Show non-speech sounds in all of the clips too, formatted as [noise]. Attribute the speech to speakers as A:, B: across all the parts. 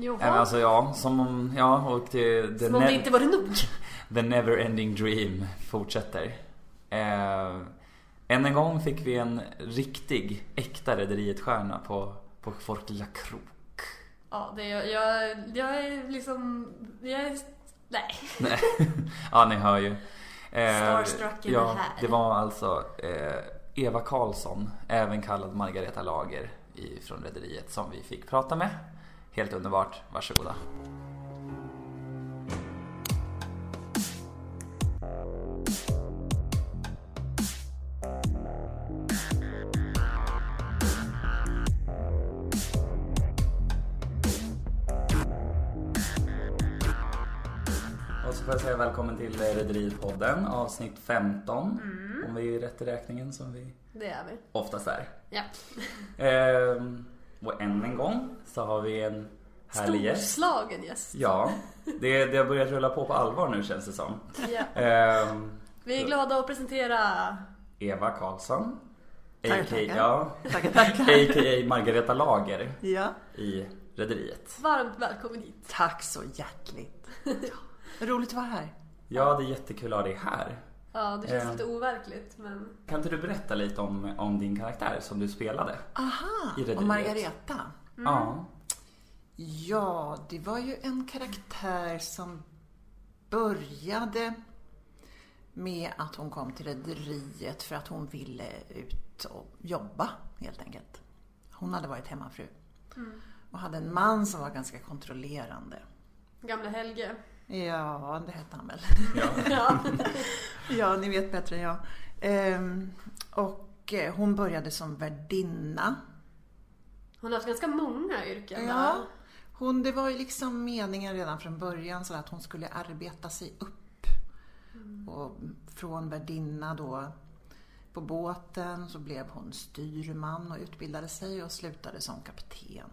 A: Jaha.
B: Nej, men alltså ja, som om, ja och det, the,
A: Som om
B: ne-
A: det inte var det nog.
B: the never ending dream fortsätter. Eh, än en gång fick vi en riktig, äkta Rederiet-stjärna på, på Fort La Croix.
A: Ja, det, jag, jag, jag är liksom... Jag är... Nej.
B: Nej. ja, ni hör ju. Eh,
A: Starstruck är
B: ja,
A: det här.
B: det var alltså eh, Eva Karlsson, även kallad Margareta Lager i, från Rederiet, som vi fick prata med. Helt underbart. Varsågoda. Och så får jag säga välkommen till eh, Rederiet-podden, avsnitt 15.
A: Mm.
B: Om vi är rätt i räkningen som vi
A: Det är vi.
B: oftast är.
A: Ja.
B: Ehm, och än en gång så har vi en härlig gäst.
A: Storslagen gäst.
B: Ja, det, det har börjat rulla på på allvar nu känns det som.
A: Ja.
B: Ehm,
A: Vi är glada att presentera
B: Eva Karlsson.
C: Tackar,
B: A.k.a.
C: tackar.
B: Ja,
C: Tackar, tackar.
B: a.k.a. Margareta Lager
C: Ja.
B: i Rederiet.
A: varmt välkommen hit.
C: Tack så hjärtligt. Roligt att vara här.
B: Ja, det är jättekul att ha dig här.
A: Ja, det känns
B: Eh.
A: lite overkligt men...
B: Kan inte du berätta lite om, om din karaktär som du spelade?
C: Aha,
B: I Rederiet.
C: och Margareta.
A: mm.
B: Ja.
C: Ja, det var ju en karaktär som började med att hon kom till Rederiet för att hon ville ut och jobba helt enkelt. Hon hade varit hemmafru och hade en man som var ganska kontrollerande.
A: Gamle Helge. [laughs]
C: Ja, det hette han väl.
B: ja.
A: Ja.
C: Ja, ni vet bättre än jag. Ehm, och eh, hon började som värdinna.
A: Hon har haft ganska många yrken.
C: Ja. Hon, det var ju liksom meningen redan från början så att hon skulle arbeta sig upp. Och från värdinna då på båten så blev hon styrman och utbildade sig och slutade som kapten.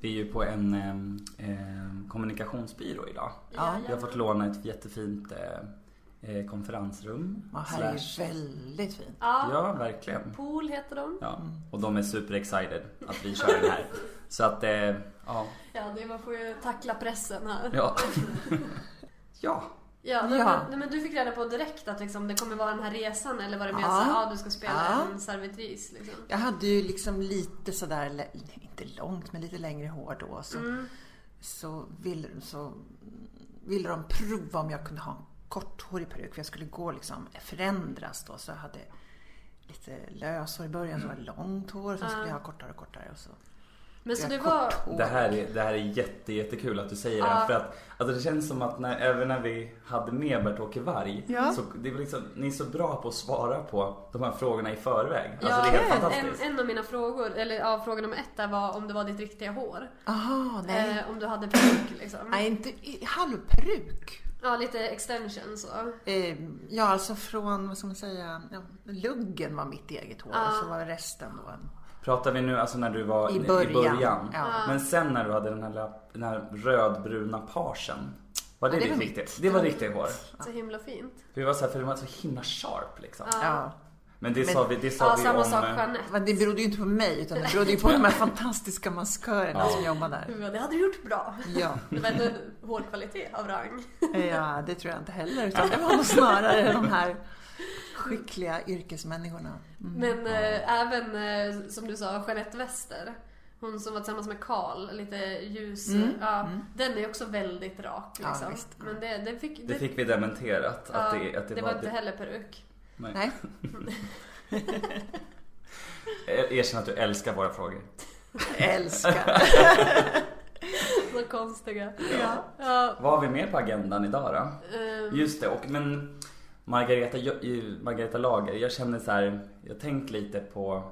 B: Vi är ju på en ehm, ehm, kommunikationsbyrå idag.
C: Ja,
B: Vi har fått låna ett jättefint eh, eh, konferensrum.
C: Och här är
B: Slash-
C: väldigt fint.
A: Ja.
B: Ja, verkligen.
A: Pool heter de.
B: Ja. Och de är super-excited att vi kör den här. Så att, eh, ja.
A: Ja, det man får ju tackla pressen här.
B: Ja. ja.
A: Ja, nej,
C: Ja.
A: Men, nej, men du fick reda på direkt att liksom, det kommer vara den här resan eller var det mer
C: Ja.
A: såhär, ja du ska spela
C: Ja.
A: en servitris liksom.
C: Jag hade ju liksom lite sådär, lä- nej, inte långt, men lite längre hår då. Så,
A: Mm.
C: så, ville, så ville de prova om jag kunde ha en korthårig peruk. För jag skulle gå liksom, förändras då. Så jag hade lite löshår i början, så var det långt hår. Sen skulle jag ha kortare och kortare. Och så.
A: Mm. Ah. Men så
C: jag
A: det var...
C: korthårig.
B: Det här är, det här är jätte, jättekul att du säger det här. För att alltså det känns som att när, även när vi hade med Bert-Åke Varg.
C: Ja.
B: Så det är liksom, ni är så bra på att svara på de här frågorna i förväg. Alltså
A: Ja,
B: det är helt
A: en,
B: fantastiskt.
A: en av mina frågor, eller ja, fråga nummer ett där var om det var ditt riktiga hår.
C: Aha, nej.
A: Eh, om du hade peruk liksom.
C: nej, inte i- halvperuk.
A: Ja, lite extension så.
C: Eh, ja, alltså från, vad ska man säga, ja, luggen var mitt eget hår.
A: Ja.
C: Och så var resten då en
B: Pratar vi nu alltså när du var
C: I början, ja.
B: Men sen när du hade den här, lilla- den här rödbruna parsen. Var det,
C: Ja, det var
B: ditt
C: mitt.
B: riktiga? Det var riktigt hår.
A: Så himla fint.
B: För det var så här, för det var så himla sharp liksom.
A: Ah.
C: Ja.
B: Men det
C: Men-
B: sa vi, det sa
A: Ja,
B: vi
A: ah, samma
B: om...
A: sak
B: eh,
A: Jeanette.
C: Men det berodde ju inte på mig utan det berodde ju på de här fantastiska maskörerna
B: Ja.
C: som jobbar där.
A: Ja, det hade du gjort bra.
C: Ja.
A: Det var ändå en hårkvalitet av rang.
C: ja, det tror jag inte heller utan det var nog snarare de här skickliga yrkesmänniskorna. Mm.
A: Men eh, även eh, som du sa, Jeanette Wester. Hon som var tillsammans med Karl, lite ljus.
C: Mm.
A: Ja, Den är också väldigt rak.
C: Ja,
A: Liksom.
C: visst.
A: Men det, det fick...
B: Det fick vi dementerat att
A: ja,
B: det, att det,
A: Ah. var,
B: var
A: inte heller
B: [laughs]
A: peruk. [laughs]
C: Nej,
B: Er- Erkänn att du älskar våra frågor.
C: älskar.
A: Så konstiga.
C: Ja.
A: Ja,
B: Vad har vi mer på agendan idag då?
A: ehm,
B: Just det, och men Margareta, jag- i- Margareta Lager, jag känner så här, jag tänkt lite på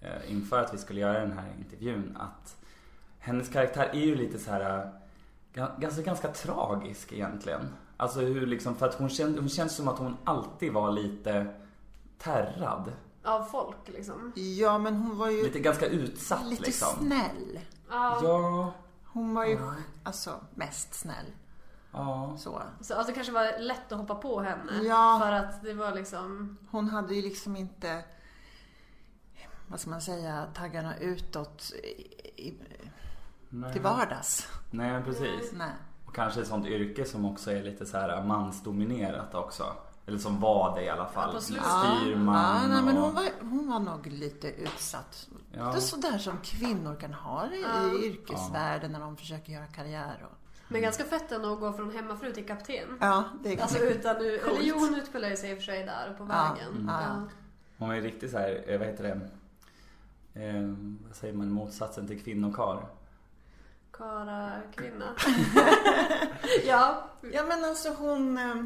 B: eh, inför att vi skulle göra den här intervjun att hennes karaktär är ju lite så här eh, ga- ganska, ganska tragisk egentligen. Alltså hur liksom, för att hon, kände, hon känns som att hon alltid var lite terrad.
A: av folk liksom.
C: Ja, men hon var ju
B: Lite ganska utsatt
C: lite
B: liksom.
C: snäll.
A: Ja,
B: Ja,
C: Hon var ju alltså mest snäll.
B: ja.
C: Så.
A: Så alltså, det kanske var lätt att hoppa på henne.
C: Ja.
A: För att det var liksom...
C: Hon hade ju liksom inte, vad ska man säga, taggarna utåt i, i,
B: Nej.
C: till vardags.
B: Nej, men precis.
C: Nej.
B: Och kanske ett sånt yrke som också är lite så här mansdominerat också. Eller som var det i alla fall.
A: Ja, på slutet.
B: Styrman
C: ja, nej, men
B: och...
C: hon, var, hon var nog lite utsatt.
B: Ja.
C: Det är sådär som kvinnor kan ha det i
A: Ja.
C: yrkesvärlden när de försöker göra karriär. Och...
A: Men ganska fett ändå att gå från hemmafru till kapten.
C: Ja, det är
A: Alltså utan nu,
C: Coolt.
A: eller jo hon utbildade sig i och för sig där på vägen.
C: ja.
B: Hon var ju riktigt så här, eh, vad heter det? Eh, vad säger man? Motsatsen till kvinnokarl.
A: Kara kvinna.
C: [laughs]
A: [laughs] ja.
C: Ja men alltså hon... eh,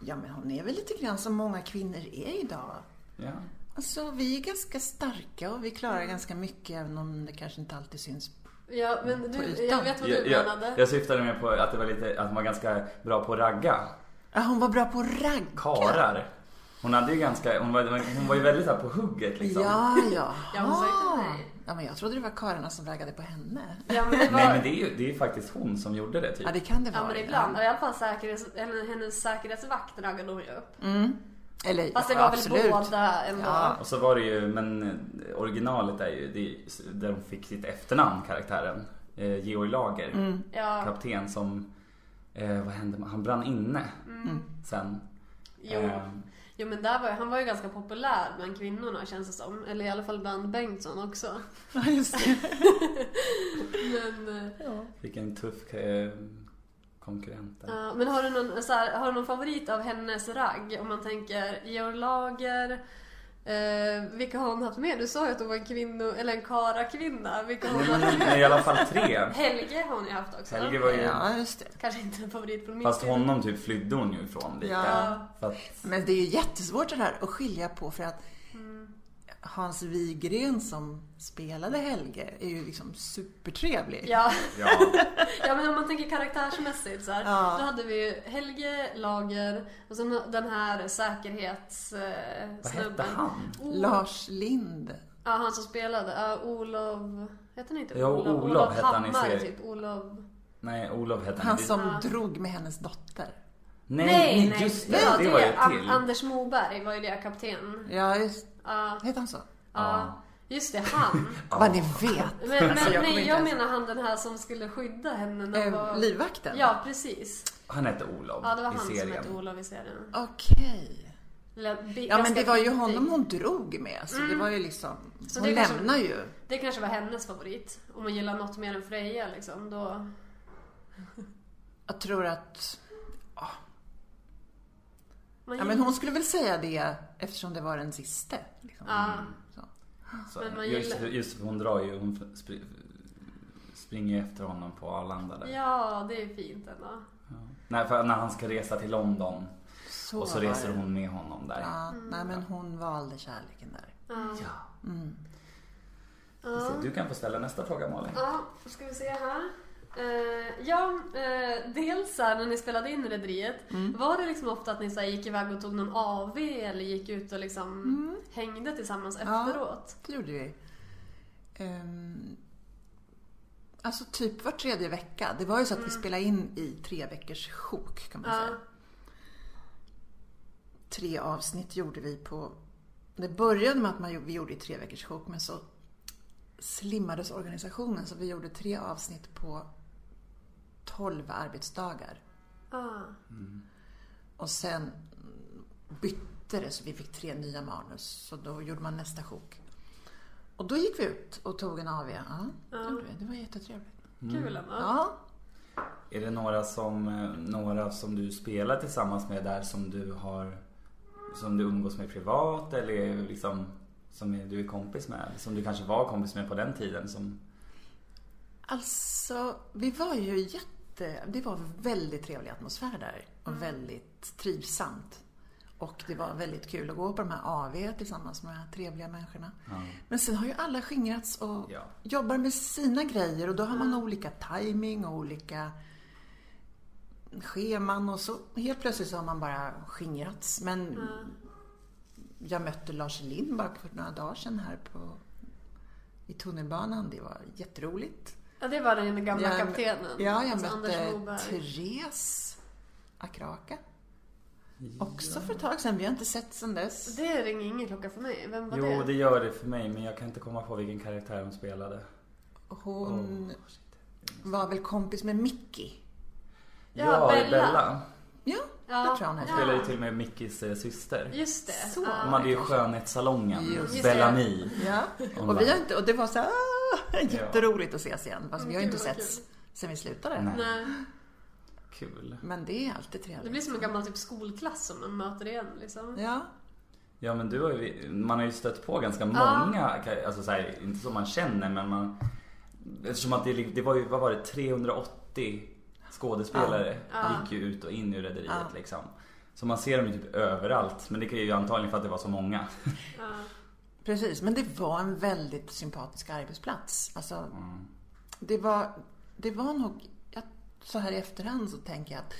C: Ja men hon är väl lite grann som många kvinnor är idag.
B: Ja.
C: Alltså vi är ganska starka och vi klarar ganska mycket även om det kanske inte alltid syns.
A: ja, men
C: På
A: du,
C: ytan.
A: jag vet vad du
B: Jag, jag,
A: menade.
B: jag syftade mer på att, det var lite, att hon var ganska bra på att ragga
C: Ja, hon var bra på att ragga.
B: karar. Hon hade ju ganska, hon var, hon var ju väldigt så här på hugget liksom.
C: Ja, ja. Ah.
A: Ja, hon sökte mig.
C: Ja, men jag trodde det var karlarna som raggade på henne.
A: Ja men det var,
B: Nej men det är ju det är ju faktiskt hon som gjorde det typ.
C: Ja, det kan det vara.
A: ja, men ibland. Och I alla fall säkerhets, eller hennes säkerhetsvakt raggade hon ju upp.
C: Mm. Eller,
A: Fast det
C: ja,
A: var
C: absolut.
A: väl båda ändå.
C: Ja.
B: Och så var det ju, men eh, originalet är ju det, är ju där hon fick sitt efternamn karaktären. Eh, Georg Lager,
C: Mm.
A: Ja,
B: kapten som, eh, vad hände med- han brann inne sen.
A: Mm. jo.
B: Eh,
A: jo men där var, ju- han var ju ganska populär bland kvinnorna känns det som. Eller i alla fall bland Bengtsson också.
C: Ja, just det.
A: Men, eh,
C: Ja.
B: vilken tuff eh, konkurrent där.
A: ja, men har, du någon, så här, har du någon favorit av hennes ragg? Om man tänker Georg Lager. Eh, vilka har hon haft med? Du sa ju att hon var en kvinno, eller en karakvinna. Vilka har hon haft med?
B: Men I alla fall tre.
A: [laughs] Helge har hon ju haft också.
B: Helge var ju,
C: ja, just det.
A: Kanske inte en favorit från min
B: fast
A: sida.
B: honom typ flydde hon ju ifrån lite.
A: Ja.
B: För att,
C: Men det är ju jättesvårt det där att skilja på för att Hans Wigren som spelade Helge är ju liksom supertrevlig.
A: Ja. [laughs]
B: ja.
A: ja, men om man tänker karaktärsmässigt så här,
C: Ja.
A: Då hade vi ju Helge, Lager och sen den här säkerhetssnubben.
B: Vad hette han?
C: Lars Lind.
A: Ja, han som spelade. Ja, Olof... Hette han inte
B: Ja, Olof hette han i
A: Hammar,
B: serien.
A: typ. Olof...
B: Nej, Olof hette han.
C: Han
B: Det-
C: som
A: Ja.
C: drog med hennes dotter.
B: Nej, nej, just det.
A: Ja,
B: det var ju
A: An-
B: till.
A: Anders Moberg var ju det, kapten.
C: Ja, just
A: Ja,
C: Hette han så?
A: ja. Just det, han.
B: [laughs] Ja.
C: Vad ni vet.
A: Men, men
C: Alltså, jag kommer
A: nej,
C: inte
A: jag
C: ens-
A: menar han den här som skulle skydda henne när hon
C: Eh,
A: var...
C: livvakten?
A: Ja, precis.
B: Han hette Olof
A: Ja, det var
B: i
A: han som
B: serien.
A: hette Olof i serien.
C: Okej.
A: Eller, bi-
C: Ja, men
A: ganska
C: det var ju
A: bitig.
C: honom hon drog med. Så det var ju liksom...
A: Så det
C: Hon
A: kanske-
C: lämnar ju.
A: Det kanske var hennes favorit. Om man gillar något mer än Freja liksom, då...
C: Jag tror att...
A: Man Mm.
C: Ja, men hon skulle väl säga det eftersom det var den sista. Liksom.
A: Ja.
C: Så.
B: Så,
A: Men man
B: just,
A: gillar-
B: just för hon drar ju, hon spr- springer ju efter honom på Arlanda där.
A: Ja, det är fint ändå.
B: Nej, för när han ska resa till London
C: Så
B: och så
C: var
B: reser
C: det.
B: hon med honom där.
C: Ja, nej, men hon valde kärleken där. Mm.
A: Ja.
B: Ja.
A: Ja.
B: Du kan få ställa nästa fråga Malin.
A: Ja, då ska vi se här. Eh, ja, eh, dels så här, när ni spelade in Rederiet, var det liksom ofta att ni så här, gick iväg och tog någon AV eller gick ut och liksom hängde tillsammans
C: Mm. Ja.
A: efteråt?
C: Det gjorde vi. Ehm, alltså typ var tredje vecka. Det var ju så att vi spelade in i tre veckors sjok kan man
A: Ja.
C: säga. Tre avsnitt gjorde vi på... Det började med att man, gjorde- vi gjorde i tre veckors sjok men så slimmades organisationen så vi gjorde tre avsnitt på tolv arbetsdagar.
A: Ah.
B: Mm.
C: Och sen mm, bytte det så vi fick tre nya manus. Så då gjorde man nästa sjok. Och då gick vi ut och tog en AW. Ja, det gjorde vi. Det var jättetrevligt.
A: Kul ändå.
C: Mm. Ja.
B: Mm. Är det några som, eh, några som du spelar tillsammans med där som du har som du umgås med privat eller liksom som är- du är kompis med? Som du kanske var kompis med på den tiden? Som,
C: Alltså, vi var ju jätte... Det var väldigt trevlig atmosfär där. Och väldigt trivsamt. Och det var väldigt kul att gå på de här AW tillsammans med de här trevliga människorna.
B: ja.
C: Men sen har ju alla skingrats och
B: Ja.
C: jobbar med sina grejer och då har man
A: Mm.
C: olika timing och olika scheman och så helt plötsligt så har man bara skingrats. Men jag mötte Lars Lind bara för några dagar sedan här på, i tunnelbanan. Det var jätteroligt.
A: Ja, det var den gamla
C: Jag-
A: kaptenen.
C: Ja, jag
A: alltså Anders
C: mötte
A: Moberg.
C: Therese Akraka. Också för ett tag sedan. Vi har inte sett sedan dess.
A: Det ringer ingen klocka för mig. Vem var
B: Jo,
A: det?
B: det gör det för mig men jag kan inte komma på vilken karaktär hon spelade.
C: Hon
B: Åh, shit.
C: var väl kompis med Mickey?
A: Ja,
B: Ja,
A: Bella.
B: Bella.
C: Ja,
A: Ja.
C: det tror jag hon hette.
B: Spelar ju till och med Mickis eh, syster.
A: Just det.
C: typ Så.
A: Ja.
B: De hade ju skönhetssalongen,
C: Just
A: det.
B: Bellamy.
C: Ja.
B: Hon
C: Och, vi
B: bara,
C: har inte, och det var så här, "Ah, jätteroligt att ses igen. Fast vi har ju inte
A: Gud, vad
C: setts sen vi slutade.
B: Nej.
A: Nej.
B: Kul.
C: Men det är alltid
A: Det
C: trevligt.
A: blir som en gammal typ skolklass som man möter igen liksom.
C: Ja,
B: Ja men du har ju, man har ju stött på ganska
A: Ja.
B: många, alltså så här, inte som man känner men man Eftersom att det, det var ju, vad var det, 380 skådespelare
A: Ja.
B: gick ju ut och in ur rederiet
C: Ja.
B: liksom. Så man ser dem ju typ överallt men det är ju antagligen för att det var så många.
A: Ja.
C: precis. Men det var en väldigt sympatisk arbetsplats. Alltså,
B: Mm.
C: det var, det var nog, jag, så här i efterhand så tänker jag att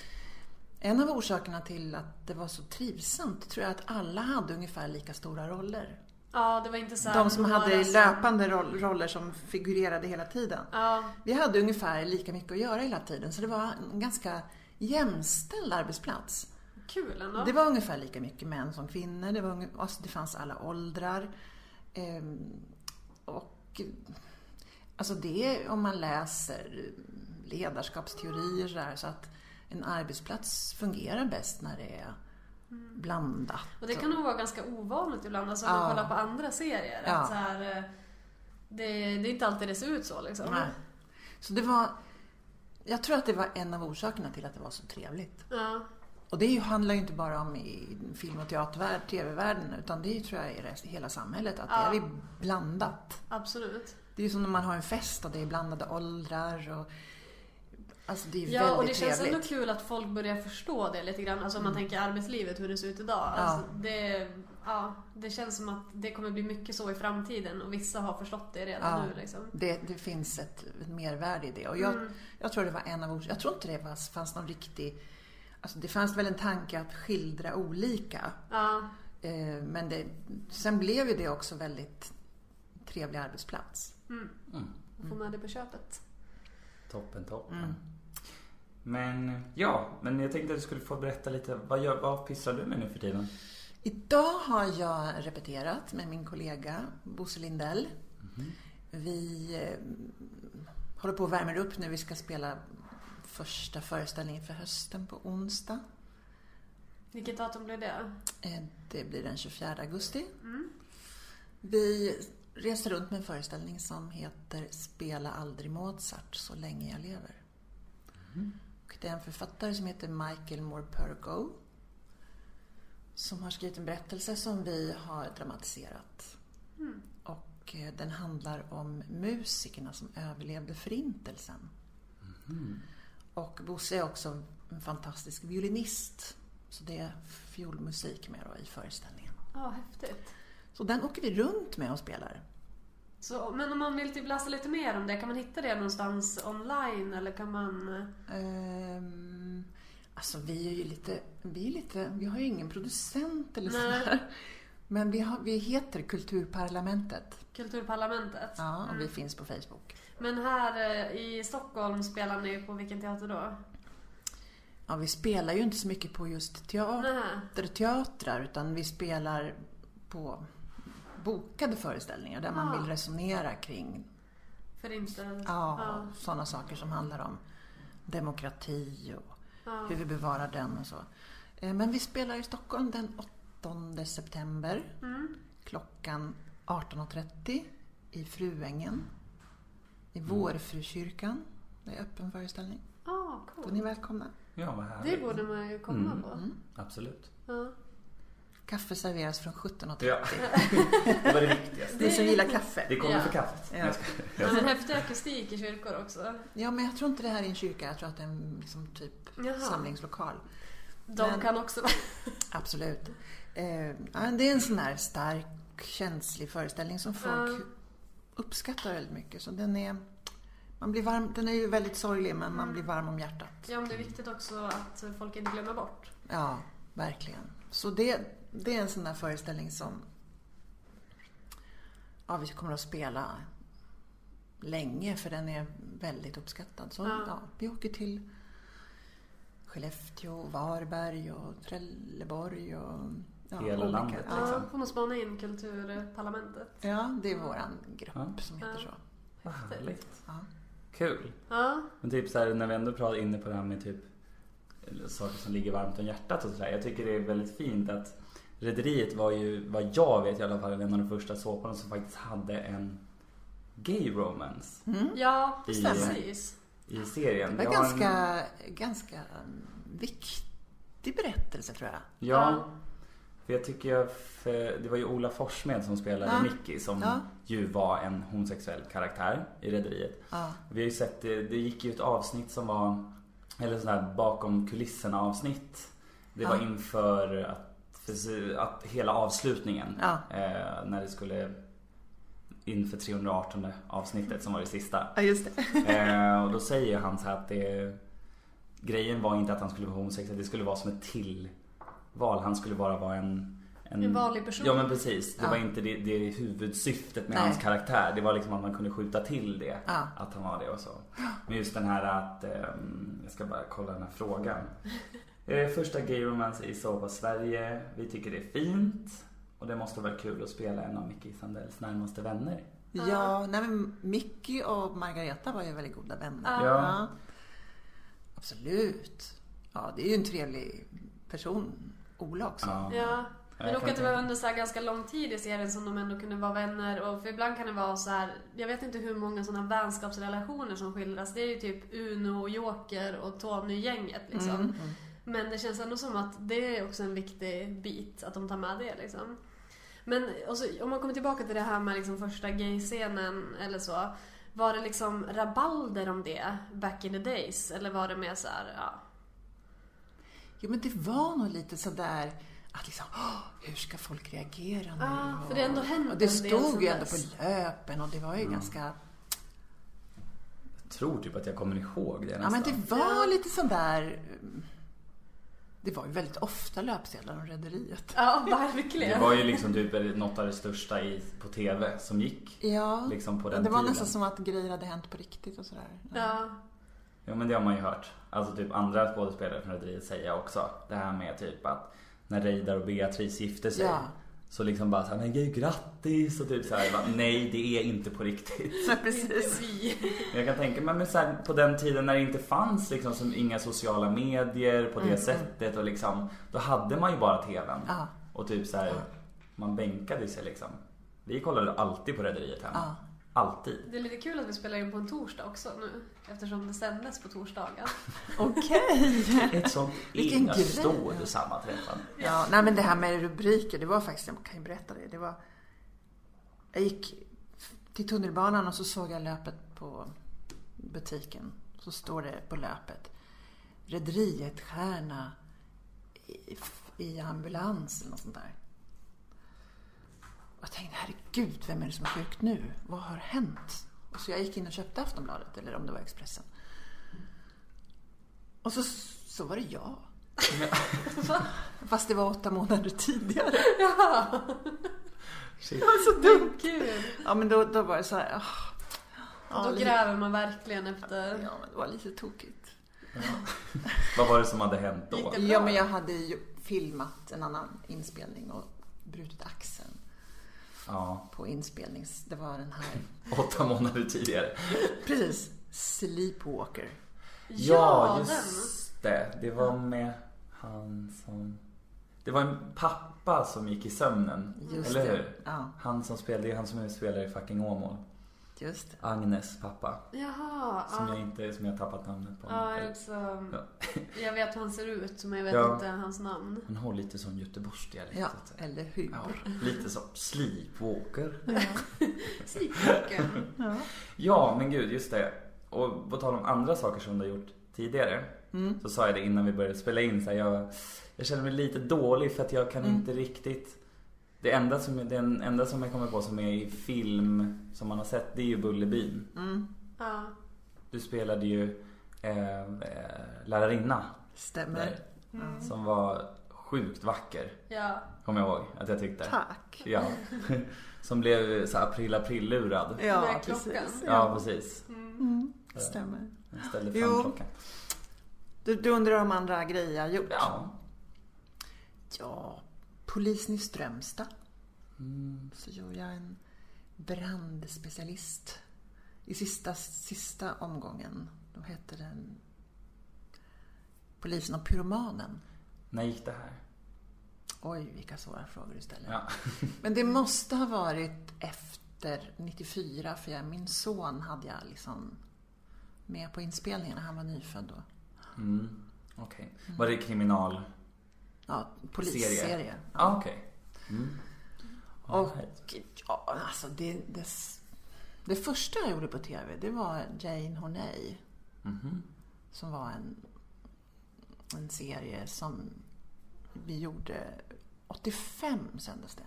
C: en av orsakerna till att det var så trivsamt tror jag att alla hade ungefär lika stora roller.
A: ja, det var inte så här
C: De som
A: några
C: hade löpande roll, roller som figurerade hela tiden.
A: Ja,
C: Vi hade ungefär lika mycket att göra hela tiden så det var en ganska jämställd arbetsplats.
A: kul ändå.
C: Det var ungefär lika mycket män som kvinnor. Det, var, unge- alltså det fanns alla åldrar. Ehm, och alltså det om man läser ledarskapsteorier så, där, så att en arbetsplats fungerar bäst när det är blandat.
A: Mm. Och det kan nog vara ganska ovanligt ibland, alltså om
C: Ja.
A: man kollar på andra serier.
C: Ja.
A: Att så här, eh, det, det är inte alltid det ser ut så liksom.
C: Nej. Så det var... Jag tror att det var en av orsakerna till att det var så trevligt.
A: Ja.
C: Och det är ju- handlar ju inte bara om i film och teatervärlden, tv-världen, utan det är ju, tror jag i rest- hela samhället, att
A: Ja.
C: det är blandat.
A: Absolut.
C: Det är ju som när man har en fest och det är blandade åldrar och... Alltså det är ju
A: Ja, och det
C: väldigt
A: känns ändå
C: trevligt. Mm.
A: kul att folk börjar förstå det lite grann. Alltså om man tänker arbetslivet, hur det ser ut idag.
C: Ja.
A: Alltså, det, ja, det känns som att det kommer bli mycket så i framtiden och vissa har förstått det redan
C: Ja.
A: nu liksom.
C: Det, det finns ett, ett mervärde i det. Och jag,
A: Mm.
C: jag tror det var en av orsakerna. Jag tror inte det var, fanns någon riktig... Alltså det fanns väl en tanke att skildra olika.
A: Ja,
C: Eh, Men det, sen blev ju det också väldigt trevlig arbetsplats.
A: mm.
B: Mm.
A: Då får man det på köpet.
B: Toppen, toppen.
C: Mm.
B: Men ja, men jag tänkte att du skulle få berätta lite, vad, gör, vad pysslar du med nu för tiden?
C: Idag har jag repeterat med min kollega Bosse Lindell.
B: Mm-hmm.
C: Vi eh, håller på och värmer upp nu. Vi ska spela första föreställningen för hösten på onsdag.
A: Vilket datum blev det?
C: Eh, Det blir den 24 augusti.
A: Mm.
C: Vi reser runt med en föreställning som heter Spela aldrig Mozart så länge jag lever. Och det är en författare som heter Michael Moore-Pergo som har skrivit en berättelse som vi har dramatiserat.
A: Mm.
C: Och eh, den handlar om musikerna som överlevde förintelsen.
B: Mm.
C: Och Bosse är också en fantastisk violinist. Så det är fiolmusik med då i föreställningen.
A: Ja, häftigt.
C: Så den åker vi runt med och spelar.
A: Så, men om man vill typ läsa lite mer om det, kan man hitta det någonstans online eller kan man... eh,
C: Ehm, alltså vi är ju lite, vi är lite, vi har ju ingen producent eller
A: Nej.
C: sådär. Men vi, har, vi heter Kulturparlamentet.
A: Kulturparlamentet?
C: Ja, och
A: Mm.
C: vi finns på Facebook.
A: Men här eh, i Stockholm spelar ni på vilken teater då?
C: Ja, vi spelar ju inte så mycket på just
A: Nähä.
C: teaterteatrar utan vi spelar på bokade föreställningar där man
A: Ja.
C: vill resonera kring
A: För inte...
C: ja,
A: Ja.
C: sådana saker som handlar om demokrati och
A: Ja.
C: hur vi bevarar den och så. Eh, Men vi spelar i Stockholm den 8 september
A: Mm.
C: klockan 18.30 i Fruängen. I
B: Mm.
C: Vårfrukyrkan. Det är öppen föreställning.
A: Ah,
C: Då är ni
A: cool.
C: välkomna.
B: Ja, vad härligt.
A: Det borde man ju komma
B: Mm.
A: på.
C: Mm.
B: Absolut.
A: Ja.
C: Kaffe serveras från 17.30.
B: Ja. det var det viktigaste.
C: Ni som gillar kaffe.
B: Det kommer
A: Ja.
B: för kaffet.
C: Ja.
B: Nej, jag skojar.
A: Ja, men häftig akustik i kyrkor också.
C: Ja, men jag tror inte det här är en kyrka. Jag tror att det är en liksom, typ
A: Jaha.
C: samlingslokal.
A: De
C: Men-
A: kan också...
C: Absolut. Eh, ja, det är en sån här stark, känslig föreställning som folk
A: Ja.
C: uppskattar väldigt mycket. Så den är... Man blir varm, den är ju väldigt sorglig, men man blir varm om hjärtat.
A: Mm. Ja, men det är viktigt också att folk inte glömmer bort.
C: Ja, verkligen. Så det, det är en sån där föreställning som ja, vi kommer att spela länge för den är väldigt uppskattad. Så
A: Ja.
C: ja. vi åker till Skellefteå, Varberg och Trelleborg och ja,
B: Hela landet,
C: Ja.
B: liksom.
A: Ja, får man spana in Kulturparlamentet.
C: ja, det är våran grupp
B: Ja.
C: som heter
A: Ja.
C: så.
B: Vad härligt.
C: Ja.
B: Kul.
A: Ja.
B: Men typ så här, när vi ändå pratar inne på det här med typ saker som ligger varmt om hjärtat och sådär. Jag tycker det är väldigt fint att Rederiet var ju, vad jag vet i alla fall, en av de första såporna som faktiskt hade en gay romance
C: Mm.
A: Ja,
B: I-
A: precis.
B: i serien.
C: Det var
B: Vi har en-
C: ganska, ganska mm, viktig berättelse tror jag.
B: Ja.
A: Ja.
B: För jag tycker jag, för det var ju Ola Forssmed som spelade
C: Ja.
B: Nicky som
C: Ja.
B: ju var en homosexuell karaktär i Rederiet.
C: Ja.
B: Vi har ju sett, det, det gick ju ett avsnitt som var, eller sån här bakom kulisserna avsnitt. Det var
C: Ja.
B: inför att, för, att hela avslutningen.
C: Ja.
B: Eh, när det skulle, inför 318 avsnittet som var det sista.
C: ja, just det.
B: Eh, och då säger han så här att det, grejen var inte att han skulle vara homosexuell, det skulle vara som ett tillval. Han skulle bara vara en...
A: En vanlig person.
B: Ja men precis. Det
C: Ja.
B: var inte det, det huvudsyftet med
C: Nej.
B: hans karaktär. Det var liksom att man kunde skjuta till det.
C: Ja.
B: Att han var det och så. Men just den här att, ehm, jag ska bara kolla den här
C: [laughs]
B: frågan. Eh, Första gay romance i Såpa Sverige. Vi tycker det är fint. Och det måste vara kul att spela en av Micke Sandells närmaste vänner.
C: Ja, nej, men Mickey och Margareta var ju väldigt goda vänner.
B: Ja. Ja.
C: Absolut. Ja, det är ju en trevlig person, Ola också. Mm.
B: Ja.
A: Ja.
B: jag
A: Men och
B: kan
A: att det
B: tänka-
A: var under så här ganska lång tid i serien som de ändå kunde vara vänner. Och för ibland kan det vara så här, jag vet inte hur många sådana vänskapsrelationer som skildras. Det är ju typ Uno och Joker och Tony-gänget liksom.
C: Mm.
A: Men det känns ändå som att det är också en viktig bit, att de tar med det liksom. Men och så, om man kommer tillbaka till det här med liksom första gay-scenen eller så. Var det liksom rabalder om det back in the days? Eller var det mer såhär, ja.
C: Jo, men det var nog lite sådär att liksom, "Åh, hur ska folk reagera nu?
A: Ah, för det har ändå hänt
C: och
A: en del
C: det stod
A: sedan
C: ju ändå
A: dess.
C: på löpen och det var ju
B: Mm.
C: ganska...
B: Jag tror typ att jag kommer ihåg det
C: Ja, men typ
B: nästan.
C: det var
A: Ja.
C: lite sådär... mm, Det var ju väldigt ofta löpsedlar om Rederiet.
A: Ja, verkligen.
B: Det var ju liksom typ något av det största i, på TV som gick.
C: Ja,
B: Liksom på den
C: det var
B: tiden.
C: nästan som att grejer hade hänt på riktigt och sådär.
A: Ja.
B: Jo men det har man ju hört. Alltså typ andra skådespelare från Rederiet säga också. Det här med typ att när Reidar och Beatrice gifte sig.
C: Ja.
B: Så liksom bara såhär, men gud grattis och typ såhär. bara, Nej det är inte på riktigt.
C: [laughs] Nej,
A: Inte vi.
B: Men Jag kan tänka mig men så här, på den tiden när det inte fanns liksom som inga sociala medier på det sättet och liksom. Då hade man ju bara TVn.
C: Mm. Ja.
B: Och typ så här, man bänkade sig liksom. Vi kollade alltid på Rederiet hemma.
C: Ja.
B: Alltid.
A: Det är lite kul att vi spelar in på en torsdag också nu. Eftersom det sändes på torsdagar.
C: Okej.
B: Ett sånt
C: Vilken
B: inga
C: grej.
B: stående sammanträffande.
C: Ja, nej men det här med rubriker, det var faktiskt, jag kan ju berätta det. det var, jag gick till tunnelbanan och så såg jag löpet på butiken. Så står det på löpet. Rederiet stjärna i, i ambulans eller något sånt där. Och jag tänkte, herregud, vem är det som är sjuk nu? Vad har hänt? Och så jag gick in och köpte Aftonbladet, eller om det var Expressen. Och så, så var det jag. Fast det var åtta månader [laughs] tidigare.
A: [laughs] Ja,
B: Shit.
C: Det var så dumt.
A: men kul.
C: Ja, men då, då var det så här... ah. Ja,
A: Då
C: lite-
A: gräver man verkligen efter.
C: ja, men det var lite tokigt.
B: Vad var det som hade hänt då?
A: Gick det-
C: Ja, men jag hade ju filmat en annan inspelning och brutit axeln
B: Ja,
C: på inspelnings... Det var
B: [laughs]
C: den här...
B: åtta månader tidigare.
C: Precis. Sleepwalker.
B: Ja,
A: den.
B: just det. Det var med han som... Det var en pappa som gick i sömnen.
C: Just
B: eller
C: det.
B: hur?
C: Ja,
B: Han som spelade, det är han som spelar i fucking Åmål.
C: just det.
B: Agnes pappa.
A: Jaha.
B: Som
A: ja.
B: jag inte, som jag tappat namnet på.
A: Ja, jag, också, jag vet hur han ser ut men jag vet
B: Ja.
A: inte hans namn.
B: Han har lite sån göteborgsdialekt.
C: Ja,
B: så att säga.
C: eller hur?
B: Ja, lite som sleepwalker.
A: [laughs] Sleepwalken.
C: Ja.
B: Ja, men gud, just det. Och på tal om andra saker som du har gjort tidigare.
C: Mm,
B: Så sa jag det innan vi började spela in. Så här, jag, jag känner mig lite dålig för att jag kan
C: Mm.
B: inte riktigt... Det enda, som, den enda som jag kommer på som är i film som man har sett, det är ju Bullerbyn.
C: mm.
A: Ja.
B: Du spelade ju eh, eh, lärarinna
C: Stämmer.
B: där. Som var sjukt vacker,
A: Mm. Ja.
B: kommer jag ihåg att jag tyckte.
C: Tack.
B: Ja. [laughs] Som blev så här april-april-lurad.
C: Ja,
A: Med klockan.
C: precis.
B: Ja, precis.
C: Mm, stämmer.
B: Jag ställde fram
C: Jo.
B: klockan.
C: Du, du undrar om andra grejer jag har gjort?
B: Ja,
C: Ja, polisen i
B: Mm.
C: Strömstad. Så gjorde jag en brandspecialist I sista, sista omgången, då hette den Polisen och pyromanen.
B: När gick det här?
C: Oj, vilka svåra frågor du ställer.
B: Ja.
C: [laughs] Men det måste ha varit efter 94, för jag, min son hade jag liksom med på inspelningarna. Han var nyfödd då.
B: Mm. Okej. Var det kriminal?
C: Ja, polisserie.
B: Serie.
C: Ja.
B: Ah, okej. Mm.
C: Och
B: Alright.
C: ja, alltså det, det, s- det första jag gjorde på TV, det var Jane Horney.
B: Mhm.
C: Som var en, en serie som vi gjorde 85 sändes det.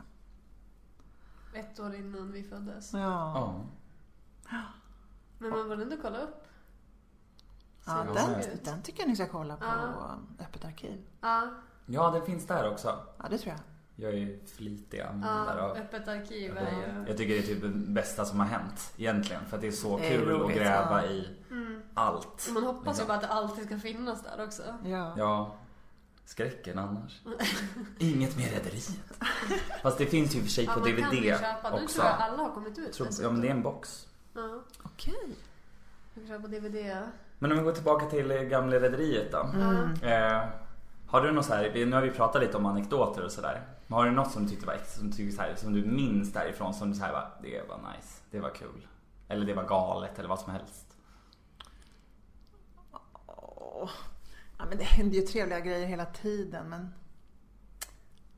A: Ett år innan vi föddes.
C: Ja.
B: Ja.
A: Men man borde ändå kolla upp.
C: ja
A: Ser det
B: den-
A: ut?
C: den, den tycker jag ni ska kolla på
A: Ja.
C: Öppet arkiv.
A: Ja,
B: ja, den finns där också.
C: Ja, det tror jag.
B: Jag är ju flitig
A: ja,
B: användare av
A: öppet arkiv.
B: Mm, Ja, det
A: är-
B: Jag tycker det är typ det bästa som har hänt egentligen. För att det är så
C: Det är
B: kul
C: roligt,
B: att gräva
C: ja.
B: i
A: Mm.
B: allt.
A: Man hoppas ju bara att det alltid ska finnas där också.
C: Ja.
B: Ja, skräcken
C: [laughs]
B: annars. Inget mer Rederiet. Fast det finns ju i och för sig
A: Ja,
B: på
A: man kan ju
B: DVD
A: köpa. Nu
B: också.
A: tror jag alla har kommit ut.
B: Tror, ja,
C: Alltså,
A: dessutom.
B: men det är en box.
A: Ja,
C: Okej.
A: man kan köpa DVD.
B: Men om vi går tillbaka till eh, gamla Rederiet då.
C: Mm.
A: Ja.
B: Eh, har du något så här, vi- nu har vi pratat lite om anekdoter och sådär. Men har du något som du tyckte var ex- som, du tycker så här, som du minns därifrån som du så här bara, det var nice, det var kul. Eller det var galet eller vad som helst.
C: Åh. Ja, men det händer ju trevliga grejer hela tiden, men...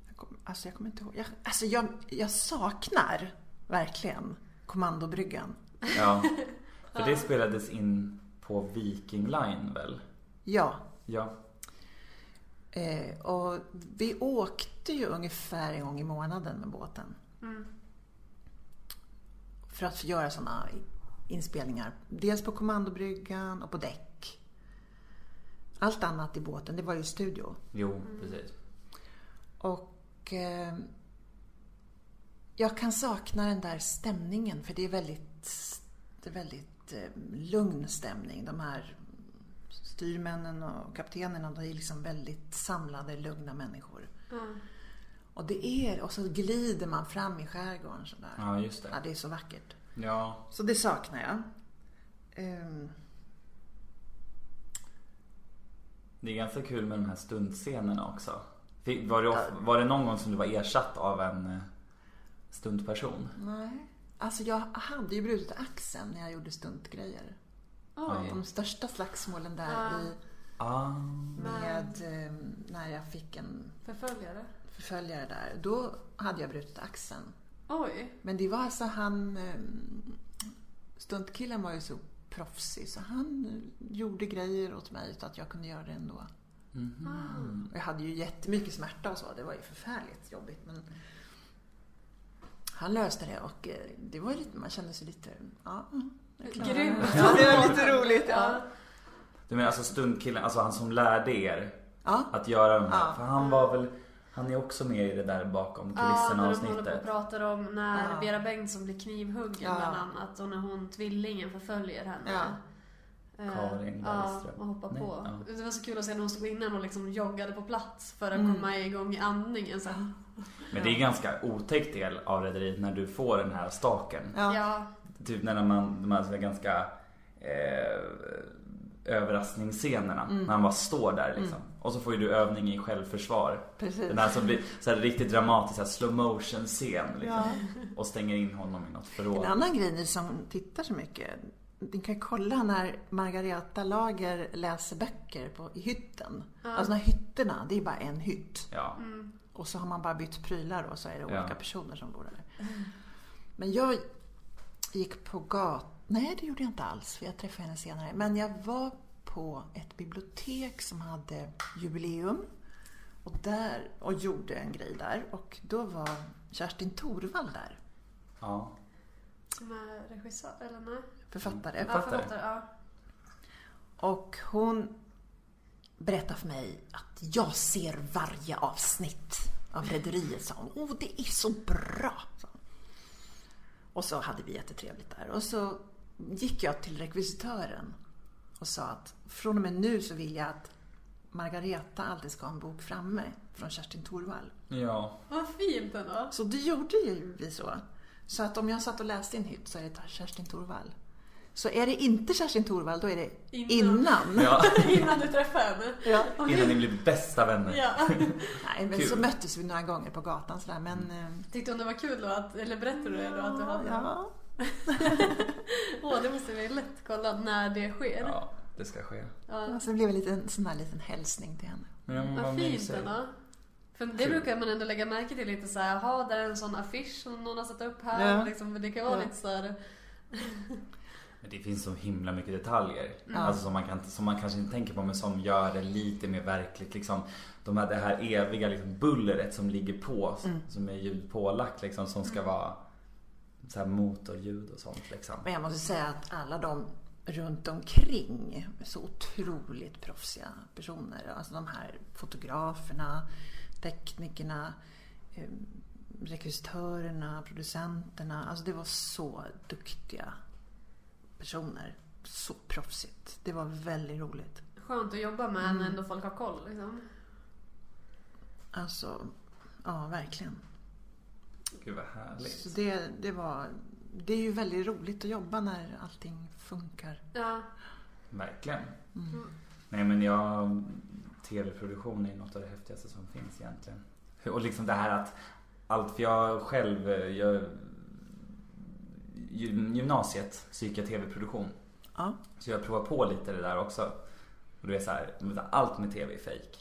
C: Jag kom, alltså, jag kommer inte ihåg. Jag, alltså, jag, jag saknar verkligen kommandobryggan.
B: Ja. För det spelades in på Viking Line väl?
C: Ja,
B: Ja.
C: eh, och vi åkte ju ungefär en gång i månaden med båten.
A: Mm.
C: För att göra sådana inspelningar. Dels på kommandobryggan och på däck. Allt annat i båten, det var ju studio.
B: Jo, precis.
C: Och eh, jag kan sakna den där stämningen för det är väldigt, det är väldigt eh, lugn stämning. De här styrmännen och kaptenerna, de är liksom väldigt samlade, lugna människor.
A: Ja.
C: Och det är, och så glider man fram i skärgården sådär.
B: Ja, just
C: Ja,
B: det.
C: det är så vackert.
B: Ja.
C: Så det saknar jag. Ehm,
B: Det är ganska kul med de här stuntscenerna också. Fick- Var det, of- var det någon gång som du var ersatt av en eh, stuntperson?
C: nej. Alltså jag hade ju brutit axeln när jag gjorde stuntgrejer.
A: Oj.
C: De största slagsmålen där
A: Ja.
C: i
B: Ah.
C: med eh, när jag fick en
A: Förföljare.
C: förföljare där. Då hade jag brutit axeln.
A: Oj.
C: Men det var alltså han... Eh, stuntkillen var ju så proffsig så han gjorde grejer åt mig utan att jag kunde göra det ändå.
B: Mhm.
C: Och Jag hade ju jättemycket smärta och så. Det var ju förfärligt jobbigt. Men han löste det och eh, det var ju lite, man kände sig lite... Ja, mm, jag klarade det.
A: Grymt.
C: [laughs] Ja, det var lite roligt. Ja.
B: Du menar alltså stuntkillen, alltså han som lärde er
C: ja.
B: att göra de här?
C: Ja.
B: För han var väl, han är också med i det där bakom
A: Ja,
B: kulisserna
A: när de håller på och
B: avsnittet.
A: pratar om när
C: Ja.
A: Vera Bengtsson blir knivhuggen
C: Ja.
A: bland annat och när hon, tvillingen, förföljer henne.
C: Ja.
A: Eh,
B: Karin
A: ja,
B: Bergström.
A: och hoppar
B: Nej,
A: på.
B: ja.
A: Det var så kul att se när hon stod innan och liksom joggade på plats för att
C: Mm.
A: komma igång i andningen. Så här,
B: Men det är en ganska otäckt del av Rederiet när du får den här staken.
A: ja.
C: ja.
B: Typ när man, de här så här ganska eh, överraskningsscenerna.
A: Mm.
B: När han bara står där liksom. Och så får ju du övning i självförsvar.
C: precis.
B: Den här som blir så här riktigt dramatisk så här slow motion scen liksom.
C: Ja.
B: Och stänger in honom i något
C: En
B: förråd.
C: annan grej ni som tittar så mycket, ni kan kolla när Margareta Lager läser böcker på, i hytten. Alltså de här hytterna, det är bara en hytt.
B: Ja.
A: Mm.
C: Och så har man bara bytt prylar och så är det
B: Ja.
C: olika personer som bor där. Men jag gick på gat... Nej, det gjorde jag inte alls, för jag träffade henne senare. Men jag var på ett bibliotek som hade jubileum. Och, där, och gjorde en grej där. Och då var Kerstin Thorvall där,
B: ja.
A: Som är regissör, eller nej?
C: författare.
A: Ja,
B: Författare.
A: författare. Ja.
C: Och hon berättar för mig att jag ser varje avsnitt av Rederiet, sa hon. Åh, det är så bra! Sa hon. Och så hade vi jättetrevligt där. Och så gick jag till rekvisitören och sa att från och med nu så vill jag att Margareta alltid ska ha en bok framme från Kerstin Thorvall.
B: Ja.
A: Vad fint ändå.
C: Så det gjorde ju vi så. Så att om jag satt och läste i en hytt så är det Kerstin Thorvall. Så är det inte Kerstin Thorvald, då är det
A: Innan.
C: innan.
B: Ja, [laughs]
A: [laughs] Innan du träffade henne.
C: Ja.
A: Okej.
B: innan ni blev bästa vänner.
A: Ja.
C: Nej, men
B: Kul.
C: så möttes vi några gånger på gatan sådär, men... eh,
A: Tyckte hon det var kul då? Att, eller berättade Mm. du det då att du hade?
C: ja.
A: Åh, det måste vi lätt kolla när det sker. Ja.
B: Ja, det ska ske.
C: Ja, så det blev en liten, sån här liten hälsning till henne.
B: Men jag var
A: Vad fint
B: mysig.
A: ändå. För det
B: Kul.
A: brukar man ändå lägga märke till lite såhär, jaha, där är en sån affisch som någon har satt upp här.
C: Ja.
A: Liksom, men det kan vara
C: Ja.
A: lite såhär,
B: Men det finns så himla mycket
A: Mm.
B: detaljer.
C: Ja.
B: Alltså som man, kan, som man kanske inte tänker på men som gör det lite mer verkligt. Liksom, de här, det här eviga liksom, bullret som ligger på,
A: Mm.
B: s- som är ljudpålagt liksom, som ska vara så här motorljud och sånt liksom.
C: Men jag måste säga att alla de runt omkring är så otroligt proffsiga personer. Alltså de här fotograferna, teknikerna, eh, rekvisitörerna, producenterna. Alltså det var så duktiga personer. Så proffsigt. Det var väldigt roligt.
A: skönt att jobba med
B: Mm.
A: när ändå folk har koll liksom.
C: Alltså, ja verkligen.
B: Gud vad härligt.
C: Så det, det, var, det är ju väldigt roligt att jobba när allting funkar. Mm.
A: Ja.
B: Verkligen.
A: Mm.
B: Nej men jag, tv-produktion är något av det häftigaste som finns egentligen. Och liksom det här att allt, för jag själv, eh, jag, gym- gymnasiet så gick jag tv-produktion.
C: Ja.
B: Så jag provar på lite det där också. Och du är så här, men allt med tv är fake.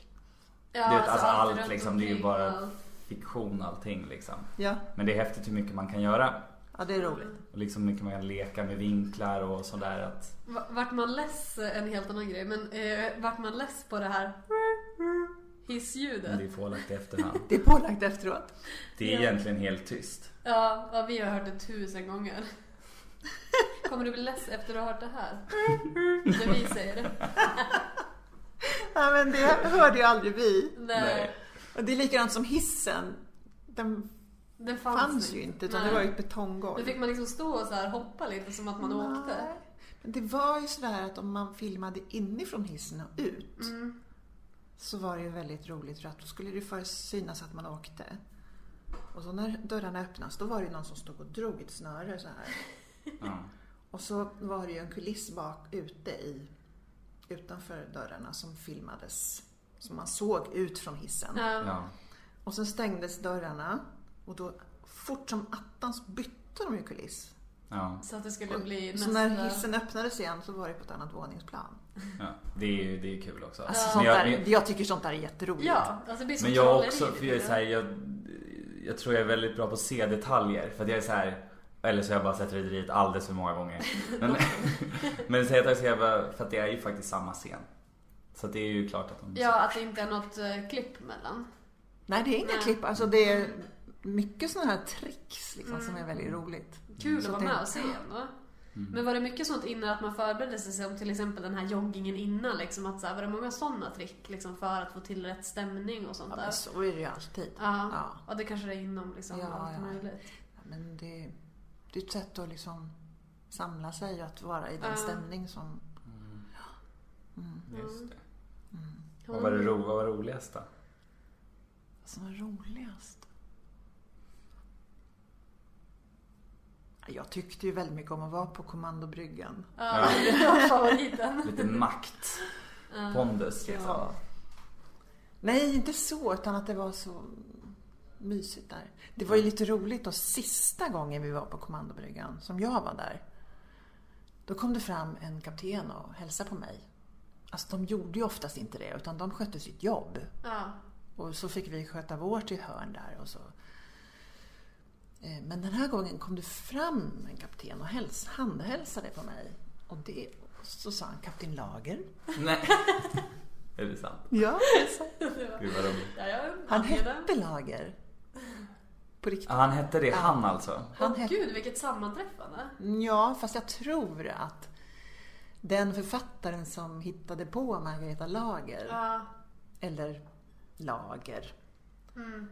A: Ja,
B: du vet, alltså
A: allt
B: allt
A: runt
B: liksom, det är ju
A: omkring
B: bara
A: och-
B: fiktion allting liksom.
C: Ja,
B: Men det är häftigt hur mycket man kan göra.
C: ja det är roligt.
B: Och liksom hur mycket man kan leka med vinklar och sådär. Att,
A: Va- Vart man less, en helt annan grej, men eh, vart man less på det här
B: men det
A: hissljudet?
B: är pålagt i efterhand.
C: Det är pålagt efteråt. [laughs]
B: Det är
A: Ja.
B: egentligen helt tyst.
A: Ja, ja, vi har hört det tusen gånger. [laughs] Kommer du bli less efter att ha hört det här? När vi säger det.
C: Ja, men det hörde ju aldrig vi.
A: Nej,
C: Och det är likadant som hissen. Den
A: det fanns,
C: fanns ju inte, utan det var ju ett Mm.
A: Då
C: betonggolv.
A: fick man liksom stå och så här hoppa lite som att man åkte.
C: Nej. Men det var ju sådär att om man filmade inifrån hissen och ut
A: Mm.
C: så var det ju väldigt roligt för att då skulle det först synas att man åkte. Och så när dörrarna öppnas då var det ju någon som stod och drog ett snöre så här.
B: Ja.
C: Och så var det ju en kuliss bak ute i, utanför dörrarna som filmades. Som man såg ut från hissen.
A: Ja.
B: Ja.
C: Och sen stängdes dörrarna och då fort som attan så bytte de ju kuliss.
B: ja.
A: Så att det skulle bli
C: Så när
A: nästa...
C: hissen öppnades igen så var det på ett annat våningsplan.
B: Ja, det är ju det är kul också.
C: Alltså
B: Men
C: sånt
B: jag,
C: där,
B: men-
C: jag, tycker sånt där är jätteroligt.
A: Ja, alltså det blir som
B: men jag
A: trolleri
B: också,
A: lite
B: för jag är
A: grann.
B: så här, jag, jag tror jag är väldigt bra på att se detaljer. För att jag är så här, eller så har jag bara sett Rederiet alldeles för många gånger. Men, [laughs] men säg att jag ser, för att det är ju faktiskt samma scen. Så att det är ju klart att de...
A: Ja, att det inte är något eh, klipp mellan.
C: Nej, det är inga
A: Nej.
C: klipp. Alltså det är mycket sådana här tricks liksom, som är väldigt
A: Mm.
C: roligt.
A: Kul
C: Mm. Så
A: att vara
C: det-
A: med och se ändå.
B: Mm.
A: Men var det mycket sånt innan att man förberedde sig som till exempel den här joggingen innan? Liksom, att så här, var det många sådana trick liksom, för att få till rätt stämning och sånt
C: Ja,
A: där?
C: men så är det ju alltid.
A: Ja.
C: Ja.
A: ja, det kanske det är inom liksom,
C: Ja,
A: allt
C: ja.
A: möjligt.
C: Ja, Men det, det är ett sätt att liksom samla sig och att vara i den
A: Ja.
C: stämning som...
B: Mm,
C: mm,
B: Just det. Vad
A: Mm.
B: var det ro, vad var roligast då?
C: Som var Alltså, roligast? Jag tyckte ju väldigt mycket om att vara på kommandobryggan.
A: Ja, det var [laughs] favoriten.
B: Lite makt, pondus liksom.
C: Ja. Nej, inte så, utan att det var så mysigt där. Det var ju lite roligt då, sista gången vi var på kommandobryggan, som jag var där. Då kom det fram en kapten och hälsade på mig. Alltså de gjorde ju oftast inte det, utan de skötte sitt jobb.
A: Ja. [laughs]
C: Och så fick vi sköta vårt i hörn där och så. Eh, Men den här gången kom det fram en kapten och häls- handhälsade på mig. Och det, så sa han Kapten Lager.
B: Nej. Är det sant?
C: Ja,
B: Gud vad roligt.
A: Ja, jag
C: [laughs] han
A: hade den.
C: hette Lager. På riktigt.
B: Ja, han hette det, han alltså.
C: Han
A: Åh,
C: hette-
A: Gud, vilket sammanträffande.
C: Ja, fast jag tror att den författaren som hittade på Margareta Lager,
A: Ja.
C: eller Lager,
A: Mm.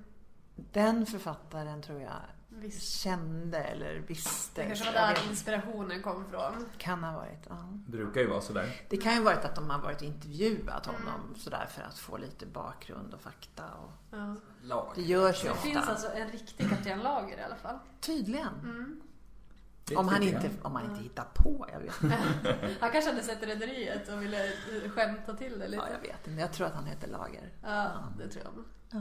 C: den författaren tror jag
A: Visst.
C: kände eller visste.
A: Det kanske var
C: Jag
A: där
C: vet inte.
A: inspirationen kom från.
C: Kan ha varit, ja.
B: Brukar ju vara sådär.
C: Det kan ju ha varit att de har varit och intervjuat honom sådär för att få lite bakgrund och fakta. Och
A: Ja.
B: Lag.
C: det alltså- görs ju
A: Det
C: ofta. Mm.
A: finns alltså en riktig Kapten Lager i alla fall.
C: Tydligen.
B: Det
C: Om han,
B: tycker
C: inte,
B: jag.
C: om han inte hittar på, jag vet inte.
A: Han kanske hade sett Rederiet och ville eh, skämta till det
C: Ja, jag
A: lite.
C: vet inte. Jag tror att han heter Lager.
A: Ja, det tror jag.
C: Ja.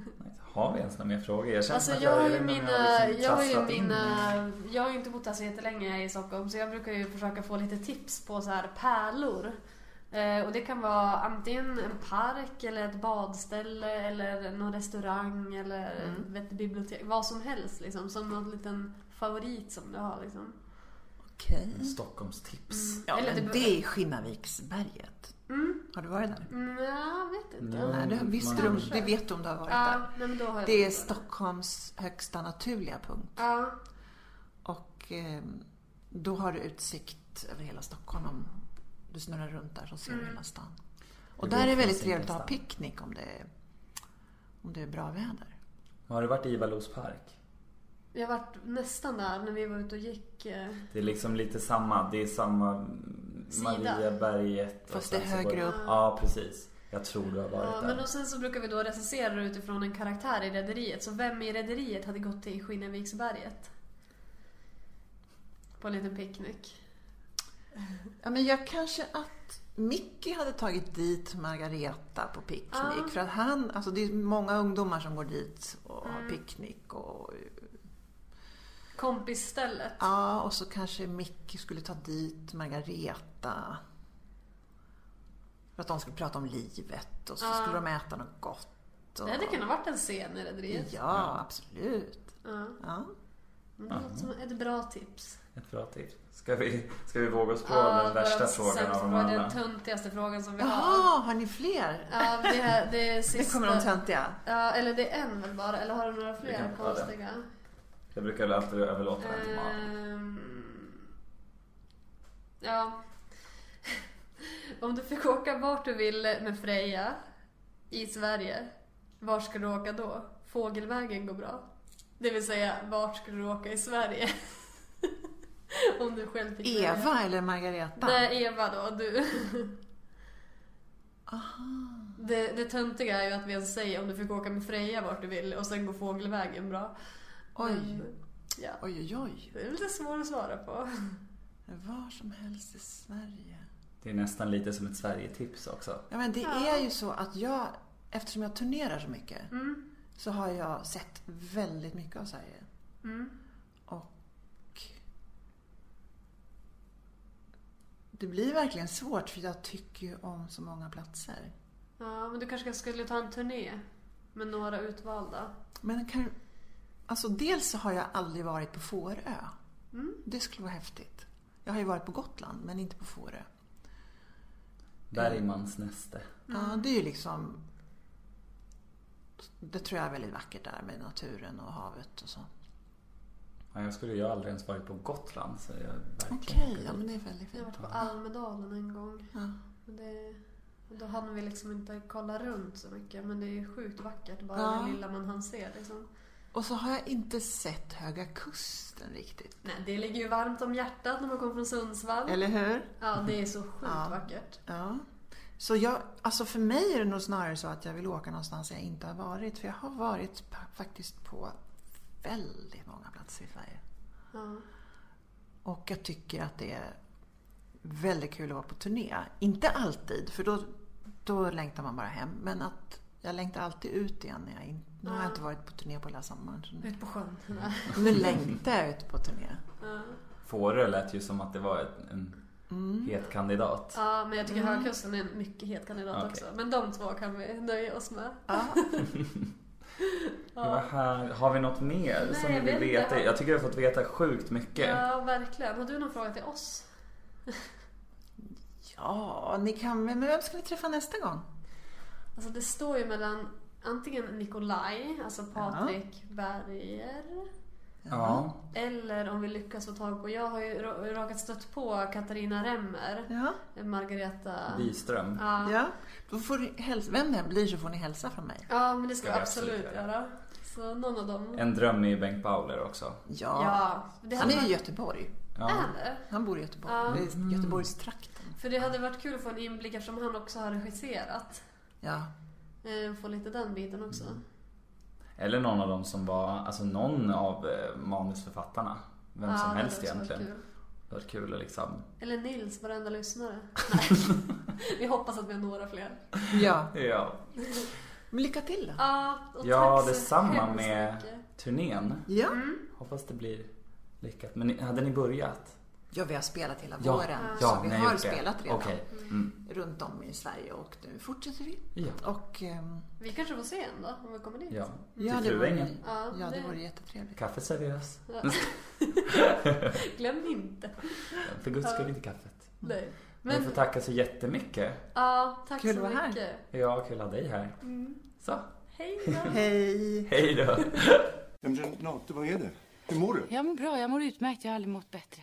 B: Nice. Har vi ens några mer frågor? Jag känner
A: Alltså
B: att
A: jag har ju
B: redan
A: mina,
B: liksom
A: jag har ju
B: tassat in.
A: mina, jag har ju inte bott här så jättelänge i Stockholm så jag brukar ju försöka få lite tips på så här pärlor. Eh, och det kan vara antingen en park eller ett badställe eller någon restaurang eller
C: Mm.
A: ett bibliotek. Vad som helst liksom. Som någon liten favorit som du har liksom.
C: Okej.
B: Stockholmstips.
A: Mm.
C: Ja,
A: eller
C: men
A: du-
C: det är Skinnaviksberget.
A: Mm.
C: Har du varit där?
A: Mm, jag vet inte.
B: Ja,
C: Nej, det, visste du, om-
A: kanske.
C: det vet du om du har varit
A: Ja,
C: där.
A: nej, men då har jag
C: Det är
A: varit där.
C: Stockholms högsta naturliga punkt.
A: Ja,
C: Och eh, då har du utsikt över hela Stockholm. Om du snurrar runt där så ser du
A: Mm.
C: hela stan. Och
B: Det
C: där är
B: går
C: det
B: från
C: väldigt
B: sin
C: trevligt att ha
B: stan.
C: picknick om det är, om det är bra väder.
B: Har du varit i Ivalos park?
A: jag var nästan där när vi var ute och gick. eh,
B: Det är liksom lite samma. Det är samma
A: Sida.
B: Mariaberget. och
C: Fast det
B: sen
C: är
B: så går-
C: högre upp.
B: Ja, precis. Jag tror du har varit
A: Ja,
B: där.
A: men och sen så brukar vi då recensera det utifrån en karaktär i Rederiet. Så vem i Rederiet hade gått till Skinnarviksberget? På en liten picknick.
C: Ja, men jag kanske att Mickey hade tagit dit Margareta på picknick.
A: Ja.
C: För att han, alltså det är många ungdomar som går dit och har
A: Mm.
C: picknick. Och,
A: Kompisstället.
C: ja, och så kanske Mickey skulle ta dit Margareta. För att de skulle prata om livet och så
A: Ja.
C: skulle de äta något gott. Och,
A: Det hade kunnat varit en scen i Rederiet.
C: Ja, absolut.
A: Ja.
C: Ja.
A: Men Det låter som ett bra tips.
B: Ett bra tips. Ska vi, ska vi våga oss på
A: Ja,
B: den värsta
A: våran
B: frågan
A: sämsta
B: av dem
A: fråga,
B: alla?
A: Den töntigaste frågan som vi har.
C: Jaha, har ni fler?
A: Ja, det, här, det är sista.
C: Nu kommer de töntiga.
A: Ja, eller det är en väl bara. Eller har du några
B: Vi kan
A: fler
B: ta den.
A: konstiga?
B: Jag brukar väl alltid överlåta den till
A: Eh.
B: Malin.
A: Ehm, Ja. [laughs] Om du fick åka vart du vill med Freja i Sverige, vart ska du åka då? Fågelvägen går bra. Det vill säga, vart ska du åka i Sverige? [laughs] Om du själv fick välja.
C: Eva eller Margareta?
A: Nej, Eva då. Du.
C: [laughs] Aha.
A: Det, det töntiga är ju att vi ens säger om du fick åka med Freja vart du vill och sen går fågelvägen bra.
C: Oj,
A: Men, Ja,
C: oj, oj, oj.
A: det är lite svårt att svara på.
C: Var som helst i Sverige.
B: Det är nästan lite som ett Sverigetips också.
C: Ja, men det
A: Ja.
C: är ju så att jag, eftersom jag turnerar så mycket,
A: Mm,
C: så har jag sett väldigt mycket av Sverige.
A: mm.
C: Och det blir verkligen svårt för jag tycker ju om så många platser.
A: Ja, men du kanske skulle ta en turné med några utvalda.
C: Men kan, alltså dels så har jag aldrig varit på Fårö.
A: Mm.
C: Det skulle vara häftigt. Jag har ju varit på Gotland, men inte på Fårö.
B: Bergmans näste.
A: mm.
C: Ja, det är ju liksom... Det tror jag är väldigt vackert där med naturen och havet och så.
B: Ja, jag skulle ju aldrig ens varit på Gotland så jag verkligen
C: Okej,
B: åker
C: ja
B: dit.
C: men det är väldigt
A: Jag har
C: fint.
A: varit på Almedalen en gång.
C: Ja.
A: Men det, och då hann vi liksom inte kolla runt så mycket. Men det är sjukt vackert, bara
C: Ja.
A: det lilla man hann se. Liksom.
C: Och så har jag inte sett Höga Kusten riktigt.
A: Nej, det ligger ju varmt om hjärtat när man kommer från Sundsvall.
C: Eller hur?
A: Mm. Ja, det är så sjukt
C: Ja.
A: vackert.
C: Ja. Så jag, alltså för mig är det nog snarare så att jag vill åka någonstans jag inte har varit. För jag har varit pa- faktiskt på väldigt många platser i Sverige.
A: Ja.
C: Och jag tycker att det är väldigt kul att vara på turné. Inte alltid, för då, då längtar man bara hem. Men att jag längtar alltid ut igen. När jag in, nu har jag
A: Ja.
C: inte varit på turné på hela sommaren. Så nu,
A: Ut på sjön.
C: nu längtar jag ut på turné.
A: [laughs] Ja.
B: Fårö lät ju som att det var ett- en
C: Mm.
B: het kandidat.
A: ja, men jag tycker
C: Mm.
A: Högkusten är en mycket het kandidat
B: Okej.
A: också. Men de två kan vi nöja oss med.
C: Ja.
B: Det var här. Har vi något mer
A: Nej,
B: som vi
A: jag vet
B: vill
A: inte.
B: veta? Jag tycker vi har fått veta sjukt mycket.
A: Ja, verkligen. Har du någon fråga till oss?
C: ja, ni kan Men vem ska ni träffa nästa gång?
A: Alltså det står ju mellan antingen Nikolaj, alltså Patrik Berger,
B: Ja.
A: eller om vi lyckas få tag på, jag har ju ra- rakat stött på Katarina Remmer,
C: Ja.
A: Margareta...
B: Wiström.
A: Ja.
C: ja. Då får ni hälsa, vem det än blir så får ni hälsa från mig.
A: ja, men det ska vi
B: Ska vi
A: absolut
B: absolut göra.
A: göra. Så någon av dem.
B: En dröm är ju Bengt Bauler också.
C: Ja.
A: Ja. Det
C: Han
A: hade
C: är i
A: varit...
C: Göteborg.
A: Är det?
C: Han bor i Göteborg. Mm.
A: Ja.
C: Det är Göteborgstrakten.
A: För det hade varit kul att få en inblick eftersom han också har regisserat.
C: Ja.
A: Eh, Få lite den biten också.
B: Eller någon av dem som var, alltså någon av eh, manusförfattarna. Vem
A: Ja, det
B: som
A: hade
B: helst
A: också varit
B: egentligen.
A: kul.
B: Det var kul att liksom...
A: Eller Nils, varenda
B: [laughs]
A: lyssnare. Nej. vi hoppas att vi har några fler.
C: Ja.
B: Ja.
C: Men lycka till då.
A: Ja, och
B: Ja,
A: tack så
B: detsamma
A: hemskt
B: med-
A: mycket.
B: Turnén.
C: Ja.
A: Mm.
B: Hoppas det blir lyckat. Men ni- hade ni börjat?
C: ja, vi har spelat hela
B: Ja,
C: våren.
B: ja,
C: så vi
B: ni
C: har
B: gjort det.
C: spelat redan
B: Okej. Mm.
C: runt om i Sverige och nu fortsätter vi.
B: Ja.
C: Och ehm,
A: Vi kanske får se en då, om vi kommer dit.
B: ja.
C: ja,
B: Till
C: det vore,
B: Fruängen.
A: Ja,
C: ja, det
A: det-
C: vore jättetrevligt.
B: Kaffe serveras. [laughs]
A: Glöm inte.
B: För guds skull inte kaffet.
A: Nej.
B: Men...
A: Men,
B: Ni får tacka så jättemycket.
A: ja, tack
C: Mm. Kul
A: så
C: att vara här.
A: mycket.
B: Ja, kul att ha dig här.
A: Mm.
B: Så,
A: Hej då.
C: Hej!
B: hej då.
D: Ja, men Renate, vad är det? Hur mår du?
E: Jag mår bra, jag mår utmärkt. Jag har aldrig mått bättre.